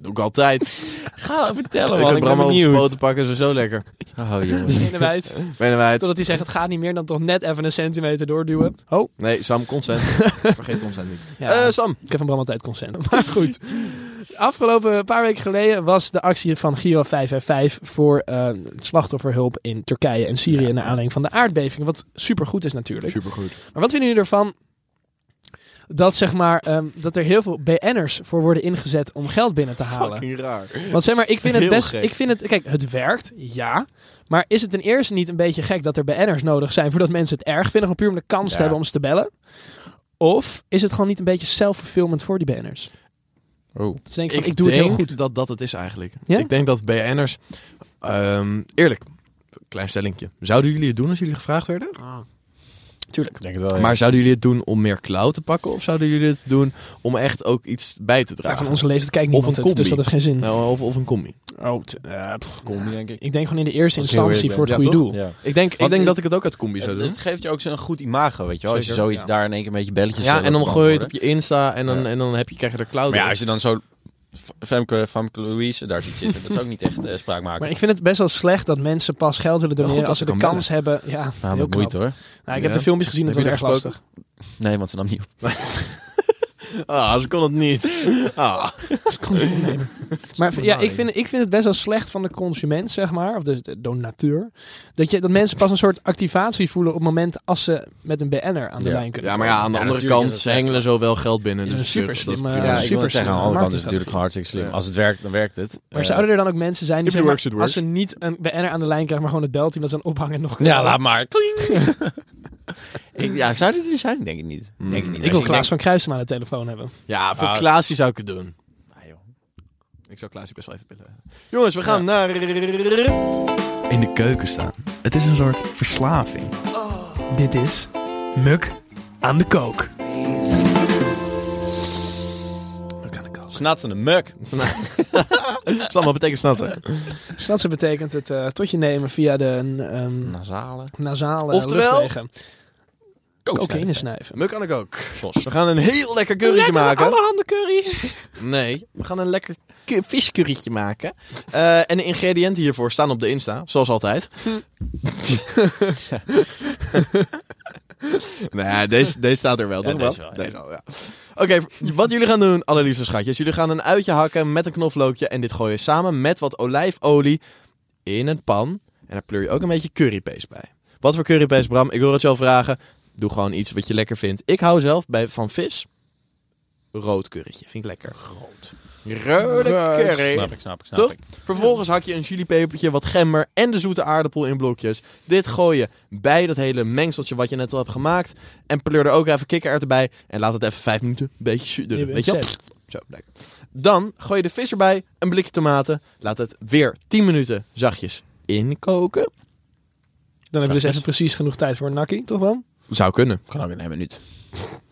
S2: Doe ik
S1: *laughs*
S2: altijd.
S1: *laughs* Ga vertellen,
S2: ik
S1: man.
S2: heb
S1: Ik ben
S2: Bram al op zijn
S1: benieuwd.
S2: poten pakken, ze zo lekker.
S1: Oh, jongens.
S3: In de wijd.
S2: Menen wij het?
S3: Totdat hij zegt, het gaat niet meer. Dan toch net even een centimeter doorduwen. Oh.
S2: Nee, Sam, consent. Vergeet consent niet.
S3: Ja.
S2: Eh, Sam.
S3: Ik heb van Bram altijd consent. *laughs* Maar goed. Afgelopen paar weken geleden was de actie van Giro 555 voor eh, slachtofferhulp in Turkije en Syrië naar aanleiding van de aardbeving. Wat supergoed is natuurlijk.
S2: Supergoed.
S3: Maar wat vinden jullie ervan dat, zeg maar, ehm, dat er heel veel BN'ers voor worden ingezet om geld binnen te halen?
S2: Fucking raar.
S3: Want zeg maar, ik vind het
S2: Heel
S3: best.
S2: gek.
S3: Ik vind het, kijk, het werkt, ja. Maar is het ten eerste niet een beetje gek dat er BN'ers nodig zijn voordat mensen het erg vinden, gewoon puur om de kans te
S1: Ja.
S3: hebben om ze te bellen? Of is het gewoon niet een beetje self-fulfillment voor die BN'ers?
S1: Oh.
S3: Dus denk ik, van, ik doe het heel
S2: denk
S3: goed.
S2: dat dat het is eigenlijk.
S3: Ja?
S2: Ik denk dat BN'ers... ehm eerlijk, klein stellingje. Zouden jullie het doen als jullie gevraagd
S3: Oh
S2: werden?
S3: Ah.
S1: Tuurlijk. Denk het wel,
S2: Maar zouden jullie het doen om meer cloud te pakken? Of zouden jullie het doen om echt ook iets bij te
S3: Ja,
S2: dragen?
S3: van onze leeftijd kijkt niemand
S2: een
S3: het, dus
S2: combi.
S3: dat heeft geen zin.
S2: Nou, of, of een combi.
S3: Oh, t- eh, pff.
S1: Kom, denk ik.
S3: ik denk gewoon in de eerste
S1: Als je heel
S3: instantie voor
S1: eerlijk
S3: het
S2: bent.
S3: goede
S2: Ja,
S3: doel.
S1: Ja.
S2: Ik denk, ik
S1: Want
S2: denk
S1: ik-
S2: dat ik het ook uit combi zou
S1: Het,
S2: doen.
S1: het geeft je ook zo'n goed imago, weet je wel. Als je
S2: Zeker,
S1: zoiets
S2: ja.
S1: daar in één keer met je belletjes...
S2: Ja,
S1: eh,
S2: en dan
S1: laat
S2: gooi je het op
S1: worden.
S2: je Insta en dan,
S1: Ja.
S2: en dan heb je, krijg je er cloud
S1: Maar ja,
S2: op.
S1: als je dan zo... F- Femke, Famke Louise daar ziet zitten, dat is ook niet echt eh, spraakmaker.
S3: Maar ik vind het best wel slecht dat mensen pas geld willen doneren
S2: goed dat
S3: als ze
S2: ze
S3: de
S2: kan
S3: kans hebben. Ja,
S1: Nou,
S3: heel
S1: met
S3: knap.
S1: moeite hoor.
S3: Nou, ik
S2: Ja.
S3: heb de filmpjes gezien, dat
S2: Heb
S3: was
S2: je daar
S3: erg
S2: gesproken?
S3: lastig.
S1: Nee, want ze nam niet op.
S2: *laughs* Ah, ze kon het niet. Ah.
S3: Dat
S2: *laughs*
S3: kan niet opnemen. Maar ja, ik
S2: benadering.
S3: vind, ik vind het best wel slecht van de consument, zeg maar, of de, de donateur. Dat, je, dat mensen pas een soort activatie voelen op het moment als ze met een BN'er aan de
S1: Ja.
S3: lijn kunnen.
S2: Ja, maar ja, aan de
S1: Ja,
S2: andere
S1: natuurlijk
S2: kant,
S1: is dat
S2: ze hengelen zo wel geld binnen.
S3: Is
S2: dus
S3: een
S2: op zich, dat
S3: superslim,
S2: prima.
S3: eh, Ja,
S1: Ja, ik wil
S3: super
S1: het zeggen, aan de
S3: slim.
S1: andere kant is het
S3: Marketingstrategie.
S1: natuurlijk gewoon hartstikke slim.
S2: Ja.
S1: Als het werkt, dan werkt het.
S3: Maar
S1: Eh,
S3: zouden er dan ook mensen zijn die
S2: If it
S3: zeg maar,
S2: works, it
S3: als
S2: works.
S3: ze niet een BN'er aan de lijn krijgen, maar gewoon het beltje dat ze aan ophangen nog
S1: Ja, laat maar. Kling! *laughs* ik, ja, zouden die er zijn? Denk ik niet.
S2: Mm.
S1: Denk ik niet.
S3: Ik wil
S1: Als
S3: Klaas van Kruijsema aan de telefoon hebben.
S2: Ja, voor
S1: Ah.
S2: Klaasje zou ik het doen.
S1: denk- Ah, joh.
S2: Ik zou Klaasje best wel even willen. eh. Jongens, we gaan naar... In de keuken staan. Het is een soort verslaving.
S4: Dit is Muk aan de kook.
S1: Snatsen de muk.
S2: *laughs* Sam, wat betekent snatsen?
S3: Snatsen betekent het eh, tot je nemen via de ehm
S6: Nou.
S1: Nasale.
S3: nasale
S2: Oftewel, Oh,
S3: luchtwegen. Cocaïne
S1: Cocaïne.
S3: snuiven.
S2: Muk aan de kook. We gaan een heel lekker currytje maken.
S3: Allerhande curry.
S2: Nee, we gaan een lekker ku- viscurrytje maken. Eh, en de ingrediënten hiervoor staan op de Insta, zoals
S1: *laughs*
S2: altijd. nee, Nou deze, deze staat er wel, toch?
S1: deze
S2: wel?
S1: wel, ja.
S2: Deze wel, ja. Oké, wat jullie gaan doen, allerliefste schatjes. Jullie gaan een uitje hakken met een knoflookje en dit gooien samen met wat olijfolie in een pan. En daar pleur je ook een beetje currypaste bij. Wat voor currypaste, Bram? Ik wil het jou vragen. Doe gewoon iets wat je lekker vindt. Ik hou zelf bij, van vis rood currytje. Vind ik lekker. Rood. Rode
S3: Rood.
S2: curry.
S1: Snap ik, snap ik, snap
S2: Toch?
S1: ik.
S2: Vervolgens hak je een chilipepertje, wat gember en de zoete aardappel in blokjes. Dit gooi je bij dat hele mengseltje wat je net al hebt gemaakt. En pleur er ook even kikkererwten bij. En laat het even vijf minuten een beetje
S3: Je
S2: sudderen.
S3: bent
S2: Weet je wel?
S3: set.
S2: Zo, lekker. Dan gooi je de vis erbij, een blikje tomaten. Laat het weer 10 minuten zachtjes inkoken.
S3: Dan hebben we dus
S1: Zachtjes.
S3: even precies genoeg tijd voor een nakkie, toch wel?
S2: Zou kunnen.
S1: Kan ook in een minuut. Zullen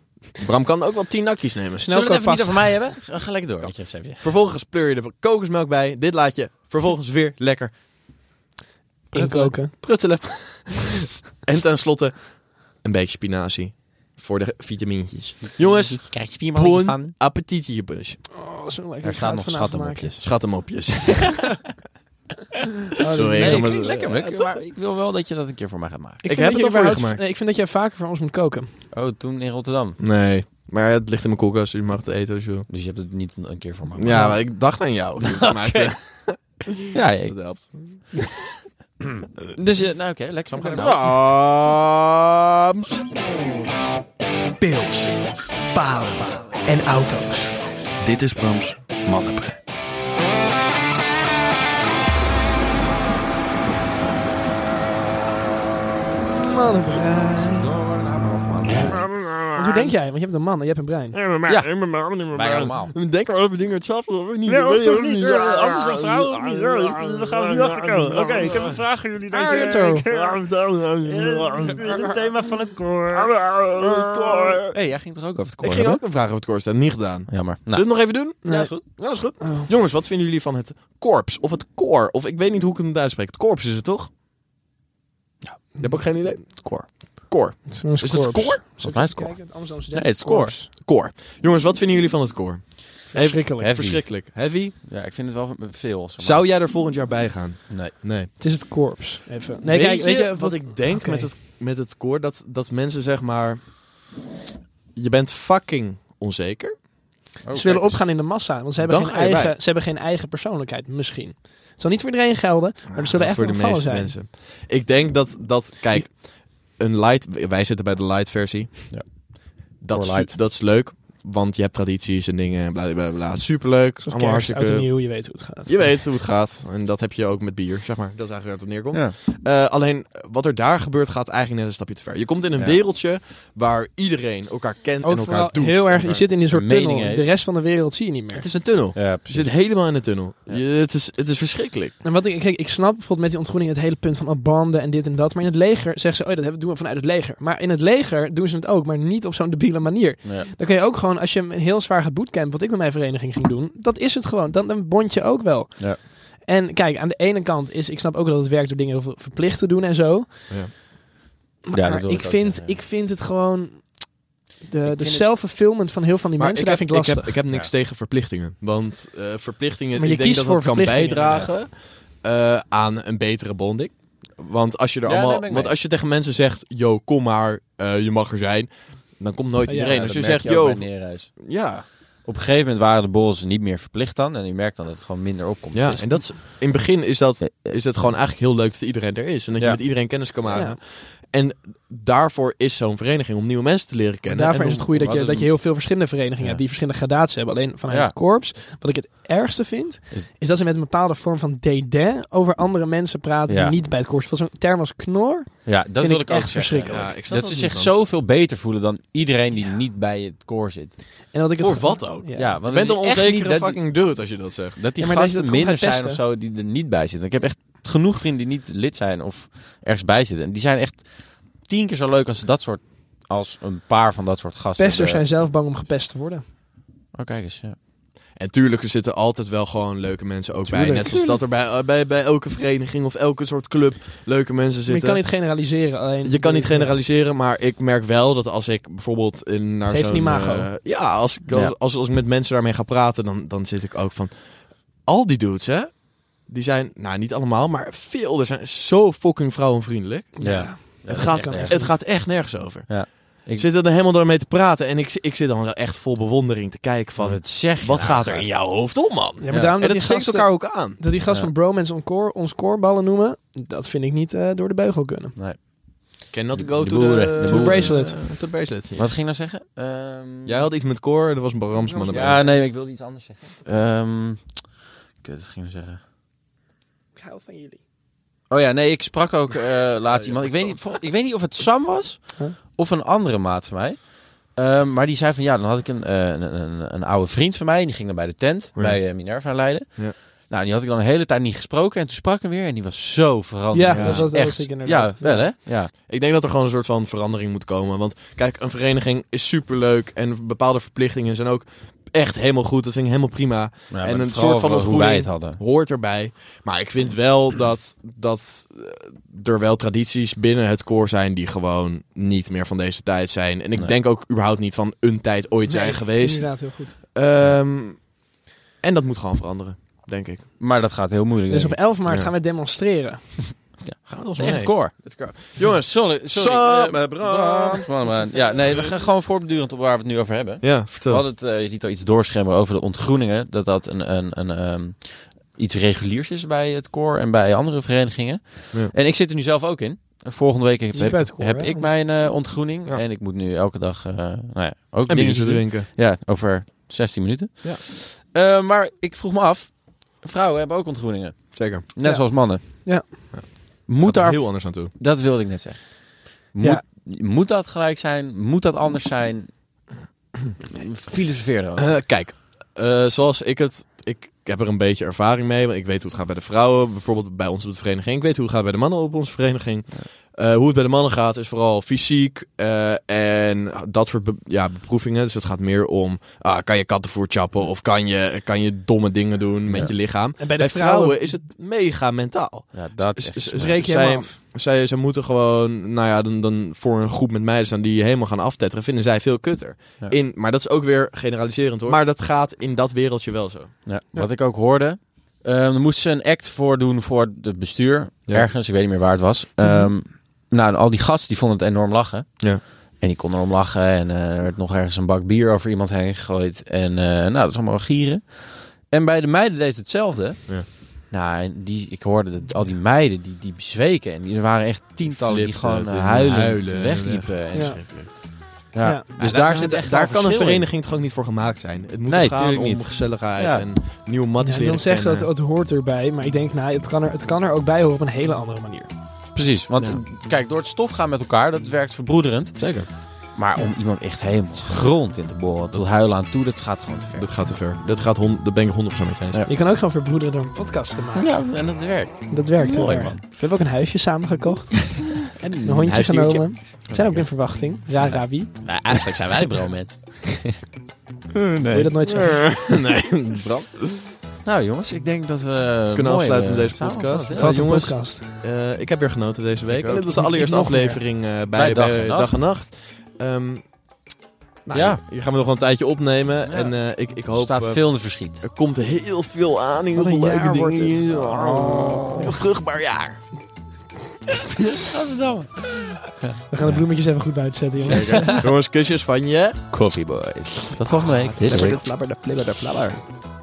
S2: Bram kan ook wel 10 nakjes nemen.
S1: we het even niet
S3: kookpasta.
S1: over mij hebben? Ga, ga lekker door. met je receptje.
S2: Vervolgens pleur je de kokosmelk bij. Dit laat je vervolgens weer lekker
S3: Inkoken.
S2: pruttelen. *laughs* en tenslotte een beetje spinazie voor de vitamintjes. Jongens,
S1: Krijg je spiermannetjes
S2: bon
S1: van?
S2: appetit hierbus.
S3: Oh, zo lekker.
S1: Er
S3: Ik ga
S1: staan
S3: het
S1: nog
S3: vanavond
S1: schattenmopjes.
S2: Schat hem opjes.
S7: *laughs*
S3: maken. Oh, dat-
S2: Sorry,
S3: nee,
S2: ik zal
S1: Nee,
S2: maar-
S1: klinkt lekker,
S2: Ja,
S1: Muk.
S2: toch?
S1: Maar ik wil wel dat je dat een keer voor mij gaat maken.
S3: Ik,
S2: Ik
S3: vind
S2: heb
S3: dat
S2: het
S3: je
S2: al voor je
S3: überhaupt-
S2: gemaakt.
S3: Nee, ik vind dat jij vaker voor ons moet koken.
S1: Oh, toen in Rotterdam.
S2: Nee, maar het ligt in mijn koelkast, dus je mag het eten als je wil. Nou.
S1: Dus je hebt het niet een een keer voor mij gemaakt.
S2: Ja, maar ik dacht aan *laughs* jou. Maar het
S1: Ja, ik-
S2: helpt.
S1: dus eh, nou oké, lekker.
S2: Brams.
S4: Pils, palen en auto's.
S5: Dit is Brams Mannenbrein.
S3: Mannenbrein. Want hoe denk jij? Want je hebt een man en je hebt een brein.
S1: Ja, wij allemaal.
S2: Denk maar over dingen hetzelfde of niet?
S7: Nee,
S2: Dat
S7: hoeft
S2: weet je
S7: toch
S2: ook
S7: niet.
S2: niet.
S7: Ja, Anders dan vrouwen of niet. Ja, Ah, dat- Daar gaan we nu achter komen. Oké, ik heb een vraag aan jullie deze
S3: Arto.
S7: week. Eh, Het thema van het koor. Oh,
S1: Hé, jij ging toch ook over het koor
S2: Ik ging
S1: hebben?
S2: ook een vraag over het koor stellen, niet gedaan.
S6: Nou.
S1: Jammer. Nou.
S2: Zullen we het nog even doen?
S1: ja, is goed.
S2: Ja, dat is goed. Jongens, wat vinden jullie van het korps? Of het koor? Of ik weet niet hoe ik het moet uitspreken. Het korps is het toch? Ja. Je hebt ook geen idee? Het koor. Koor.
S3: Zo'n
S2: Is het koor?
S1: Volgens mij is het koor.
S3: Kijk, het Amsterdamse
S1: Nee,
S3: student.
S1: het is het koor.
S2: Koor. Jongens, wat vinden jullie van het koor?
S3: Verschrikkelijk.
S1: Heavy.
S2: Verschrikkelijk. Heavy.
S1: Ja, ik vind het wel veel. zeg maar.
S2: Zou jij er volgend jaar bij gaan?
S1: Nee.
S2: Nee.
S3: Het is het korps. Even. Nee, kijk, weet je
S2: wat ik denk
S3: Oké.
S2: met, het, met het koor? Dat, dat mensen zeg maar... Je bent fucking onzeker.
S3: Ze willen opgaan in de massa, want ze hebben,
S2: Oh, Dan
S3: geen
S2: ga je
S3: eigen,
S2: bij.
S3: ze hebben geen eigen persoonlijkheid, misschien. Het zal niet voor iedereen gelden, maar er zullen echt
S2: Ah, nou, voor de
S3: gevallen
S2: meeste
S3: zijn.
S2: mensen. Ik denk dat, dat kijk, een light, wij zitten bij de light versie.
S1: Ja.
S2: Dat,
S1: Voor
S2: is,
S1: light.
S2: dat is leuk, want je hebt tradities en dingen, bla bla bla. Superleuk,
S3: Zoals
S2: allemaal
S3: kerst, oud en
S2: hartstikke...
S3: nieuw, je weet hoe het gaat.
S2: Je weet hoe het gaat. En dat heb je ook met bier, zeg maar. Dat is eigenlijk waar het op neerkomt.
S1: Ja.
S2: Eh, alleen, wat er daar gebeurt, gaat eigenlijk net een stapje te ver. Je komt in een
S1: Ja.
S2: wereldje waar iedereen elkaar kent
S3: Ook
S2: en elkaar
S3: vooral
S2: doet.
S3: heel erg, je
S2: Elkaar-
S3: zit in een soort
S1: mening
S3: tunnel.
S1: heeft.
S3: De rest van de wereld zie je niet meer.
S2: Het is een tunnel.
S1: Ja,
S2: Je
S1: precies.
S2: zit helemaal in een tunnel. Je- het, is, het is verschrikkelijk.
S3: En wat ik, kijk, ik snap bijvoorbeeld met die ontgroening het hele punt van oh, banden en dit en dat. Maar in het leger zeggen ze, oh, ja, dat hebben- doen we vanuit het leger. Maar in het leger doen ze het ook, maar niet op zo'n debiele manier.
S1: Ja.
S3: Dan kun je ook gewoon, als je een heel zwaar gaat bootcamp, wat ik met mijn vereniging ging doen, dat is het gewoon. Dan, dan bond je ook wel.
S1: Ja.
S3: En kijk, aan de ene kant is, ik snap ook dat het werkt door dingen heel veel verplicht te doen en zo.
S2: Ja.
S3: Maar
S1: Ja, dat wil
S3: ik,
S1: ik ook
S3: vind,
S1: zeggen, ja.
S3: ik vind het gewoon, de,
S1: vind
S3: de
S1: het-
S3: self-fulfillment van heel van die mensen,
S2: ik
S3: daar
S2: heb,
S3: vind ik lastig.
S2: Ik heb, ik heb niks tegen verplichtingen. Want eh, verplichtingen,
S3: Maar je
S2: ik denk
S3: kiest
S2: dat dat
S3: voor
S2: kan
S3: verplichtingen,
S2: bijdragen eh, aan een betere bonding. Want als je, er
S1: Ja, daar
S2: allemaal,
S1: ben ik
S2: want
S1: mee.
S2: als je tegen mensen zegt, yo, kom maar, eh, je mag er zijn. Dan komt nooit
S3: Ja, ja,
S2: iedereen.
S1: Ja,
S2: als je
S1: dat merk
S2: zegt,
S1: ook
S2: yo,
S1: bij Neerhuis.
S2: ja.
S1: Op een gegeven moment waren de bolzen niet meer verplicht dan. En je merkt dan dat het gewoon minder opkomt.
S2: ja. En dat, is- in het begin is dat,
S1: Ja,
S2: is dat gewoon eigenlijk heel leuk dat iedereen er is. En dat je
S1: Ja.
S2: met iedereen kennis kan maken. En daarvoor is zo'n vereniging om nieuwe mensen te leren kennen.
S3: Maar daarvoor
S2: En
S3: is het
S2: om-
S3: goed dat je,
S2: wat
S3: dat
S2: is-
S3: je heel veel verschillende verenigingen
S2: Ja.
S3: hebt die verschillende gradaties hebben. Alleen vanuit
S1: Ja.
S3: het korps, wat ik het ergste vind,
S1: Is-
S3: is dat ze met een bepaalde vorm van dédain over andere mensen praten
S1: Ja.
S3: die niet bij het korps. Zo'n term als knor.
S1: ja dat
S3: Vind
S1: wil
S3: ik
S1: ik ook zeggen.
S3: echt verschrikkelijk.
S2: Ja, ik snap
S1: Dat ze
S2: niet,
S1: zich
S2: man.
S1: zoveel beter voelen dan iedereen die niet bij het koor zit.
S3: En dat ik het
S2: Voor
S3: gewoon-
S2: wat ook?
S3: Ja.
S1: Ja, want
S2: Je bent een
S1: het is echt niet
S2: onzekere
S1: dat die-
S2: fucking dude als je dat zegt.
S1: Dat die
S3: Ja, maar dat je
S1: gasten
S3: dat komt
S1: minder
S3: uit
S1: zijn of
S3: testen.
S1: zo die er niet bij zitten. Ik heb echt genoeg vrienden die niet lid zijn of ergens bij zitten. En die zijn echt tien keer zo leuk als dat soort
S6: als een paar van dat soort gasten.
S3: Pesters
S6: er-
S3: zijn zelf bang om gepest te worden.
S6: Oh, kijk eens. Ja.
S2: En tuurlijk, er zitten altijd wel gewoon leuke mensen ook bij.
S3: Tuurlijk.
S2: Net zoals dat er bij, eh, bij, bij elke vereniging of elke soort club leuke mensen
S3: Maar je
S2: zitten.
S3: kan niet generaliseren. Alleen
S2: Je kan niet generaliseren, maar ik merk wel dat als ik bijvoorbeeld in, naar
S3: Het heeft
S2: zo'n...
S3: een imago.
S2: eh, ja, als ik, als,
S6: Ja.
S2: als, als ik met mensen daarmee ga praten, dan, dan zit ik ook van... Al die dudes, hè? Die zijn, nou niet allemaal, maar veel. Er zijn zo fucking vrouwenvriendelijk.
S6: Ja.
S2: het,
S6: is
S2: gaat,
S6: echt erg.
S2: het gaat echt nergens over.
S6: Ja.
S2: Ik
S6: Ik-
S2: zit er dan helemaal daarmee te praten en ik, ik zit dan wel echt vol bewondering te kijken van...
S6: het zeg je
S2: wat
S6: nou,
S2: gaat er
S6: gast?
S2: in jouw hoofd om, man?
S3: Ja, maar
S6: Ja.
S3: daarom
S2: En
S3: dat
S2: het
S3: die
S2: steekt
S3: gasten,
S2: elkaar ook aan.
S3: dat die gast
S6: Ja.
S3: van Bromance on Core ons koorballen noemen, dat vind ik niet eh, door de beugel kunnen.
S2: Cannot
S6: De-
S2: go
S6: de
S2: to
S6: boeren,
S2: the-
S6: de
S2: to
S6: boeren.
S3: bracelet.
S2: eh, to bracelet.
S6: Wat ging ik nou zeggen? Ehm,
S2: Jij had iets met koor, er was een Baramsman erbij.
S6: Ja, nee, ik wilde iets anders zeggen. Ehm kut, wat ging ik nou zeggen?
S3: Ik hou van jullie.
S6: Oh ja, nee, ik sprak ook eh, laatst iemand. Ik weet, niet, vol- ik weet niet of het Sam was
S3: Huh?
S6: of een andere maat van mij. Ehm, maar die zei van ja, dan had ik een, eh, een, een, een oude vriend van mij. Die ging dan bij de tent
S2: Ja.
S6: bij eh, Minerva in Leiden.
S2: Ja.
S6: Nou, die had ik dan de hele tijd niet gesproken. En toen sprak ik hem weer en die was zo veranderd.
S3: Ja,
S6: Die
S2: dat
S6: was
S3: was wel
S6: echt.
S3: ziek
S6: ja,
S3: inderdaad.
S6: wel hè? Ja.
S2: Ik denk dat er gewoon een soort van verandering moet komen. Want kijk, een vereniging is superleuk en bepaalde verplichtingen zijn ook echt helemaal goed. Dat vind ik helemaal prima.
S6: Maar
S2: een
S6: vooral
S2: soort van
S6: hoe
S2: ontgroening.
S6: wij het hadden.
S2: Hoort erbij. Maar ik vind wel dat, dat eh, er wel tradities binnen het koor zijn die gewoon niet meer van deze tijd zijn. En ik
S6: Nee.
S2: denk ook überhaupt niet van een tijd ooit zijn geweest.
S3: Inderdaad, heel goed.
S2: Ehm, en dat moet gewoon veranderen, denk ik.
S6: Maar dat gaat heel moeilijk.
S3: Dus op
S6: denk ik.
S3: 11 maart
S2: Ja.
S3: gaan we demonstreren.
S2: Gaan we ons
S6: Echt koor.
S2: Jongens,
S6: Sorry, sorry.
S2: Sam,
S6: eh,
S2: eh, Bram.
S6: Bram, man. Ja, nee, we gaan gewoon voortbedurend op waar we het nu over hebben.
S2: Ja,
S6: We
S2: vertel.
S6: hadden het, eh, je liet al iets doorschemeren over de ontgroeningen. Dat dat een, een, een, ehm, iets reguliers is bij het koor en bij andere verenigingen.
S2: Ja.
S6: En ik zit er nu zelf ook in. Volgende week heb,
S3: Je zit bij het koor,
S6: heb
S3: hè?
S6: ik
S3: Want-
S6: mijn eh, ontgroening.
S2: Ja.
S6: En ik moet nu elke dag eh, nou ja, ook
S2: En
S6: dingetjes
S2: biertje
S6: doen.
S2: drinken.
S6: Ja, over 16 minuten.
S2: Ja.
S6: Eh, maar ik vroeg me af, vrouwen hebben ook ontgroeningen.
S2: Zeker.
S6: Net
S3: Ja.
S6: zoals mannen.
S3: Ja.
S6: Moet
S2: Gaat er
S6: daar
S2: heel anders aan toe.
S6: dat wilde ik net zeggen. Moet,
S3: Ja.
S6: moet dat gelijk zijn? Moet dat anders zijn? Filosofeer erover.
S2: Eh, kijk, eh, zoals ik het... Ik heb er een beetje ervaring mee, want ik weet hoe het gaat bij de vrouwen. Bijvoorbeeld bij ons op de vereniging. Ik weet hoe het gaat bij de mannen op onze vereniging. Eh, hoe het bij de mannen gaat is vooral fysiek eh, en dat soort be- ja, beproevingen. Dus het gaat meer om, ah, kan je kattenvoer chappen of kan je, kan je domme dingen doen met
S6: Ja.
S2: je lichaam.
S3: En bij de
S2: Bij
S3: vrouwen
S2: vrouwen is het mega mentaal.
S6: Ja, dat
S2: Z-
S6: is
S2: z-
S6: echt
S3: breek je
S2: zij,
S3: hem af.
S2: zij, zij moeten gewoon, nou ja, dan, dan voor een groep met meiden staan die je helemaal gaan aftetteren, vinden zij veel kutter.
S6: Ja.
S2: In, maar dat is ook weer generaliserend hoor. Maar dat gaat in dat wereldje wel zo.
S6: Ja, Wat ik ook hoorde. ehm er moest ze een act voordoen voor het bestuur.
S2: Ja.
S6: Ergens, ik weet niet meer waar het was. Ehm, Nou, en al die gasten die vonden het enorm lachen.
S2: Ja.
S6: En die konden erom lachen. En eh, er werd nog ergens een bak bier over iemand heen gegooid. En eh, nou, dat is allemaal gieren. En bij de meiden deed het hetzelfde.
S2: Ja.
S6: Nou, en die, ik hoorde dat al die meiden die, die bezweken. En die, er waren echt tientallen die
S2: Flipten,
S6: gewoon eh,
S2: die
S6: huilend
S2: huilen en
S6: wegliepen. En,
S3: Ja.
S6: ja.
S3: Ja.
S6: Dus
S2: Ja,
S6: daar, zit echt
S2: daar
S6: wel
S2: kan een
S6: verschil in.
S2: vereniging toch ook niet voor gemaakt zijn. Het moet
S6: Nee,
S2: toch gaan om
S6: tuurlijk niet.
S2: gezelligheid
S6: Ja.
S2: en nieuwe matties
S3: Ja,
S2: leren
S3: dan zeggen ze dat
S2: kennen.
S3: het hoort erbij, maar ik denk, nou, het kan er, het kan er ook bij horen op een hele andere manier.
S6: Precies, want
S2: Ja.
S6: eh, kijk, door het stof gaan met elkaar, dat werkt verbroederend.
S2: Zeker,
S6: Maar om iemand echt helemaal grond in te boren, tot huilen aan toe, dat gaat gewoon te ver.
S2: dat gaat te ver. Dat, gaat hon- dat ben ik 100% met je eens.
S6: Ja.
S3: Je kan ook gewoon verbroederen door een podcast te maken.
S6: Ja, en dat werkt.
S3: Dat werkt heel
S6: Mooi,
S3: erg.
S6: man.
S3: We hebben ook een huisje samen gekocht. en een hondje
S6: huisdiertje.
S3: genomen. We zijn ook in verwachting. Ra Ravi.
S6: Nou, eigenlijk zijn wij
S2: *laughs*
S6: bromet.
S3: Wil je dat nooit
S2: *laughs*
S3: zeggen?
S2: nee, Bram.
S6: Nou jongens, ik denk dat we...
S2: Kunnen
S6: mooi,
S2: afsluiten
S6: eh,
S2: met deze
S6: samen-
S2: podcast.
S6: Ja,
S2: Ja,
S3: Wat een
S2: jongens.
S3: podcast. *laughs*
S2: Eh, ik heb weer genoten deze week.
S6: ook.
S2: En dit was de allereerste
S3: Ik nog meer.
S2: aflevering eh, bij, bij, Dag, en Nacht. Ehm, nou,
S6: Ja.
S2: Hier gaan we nog wel een tijdje opnemen. En eh, ik, ik
S6: Er
S2: hoop...
S6: staat
S2: eh,
S6: veel in de verschiet.
S2: Er komt heel veel aan. Heel
S3: Wat
S2: veel
S3: een
S2: leuke
S3: jaar
S2: dingen.
S3: wordt het.
S2: Oh. Heel vruchtbaar jaar.
S3: We gaan de bloemetjes even goed buiten zetten, jongens.
S2: Jongens, kusjes van je.
S6: Coffee Boys. Tot volgende week.
S2: Flabber de flabber de flabber.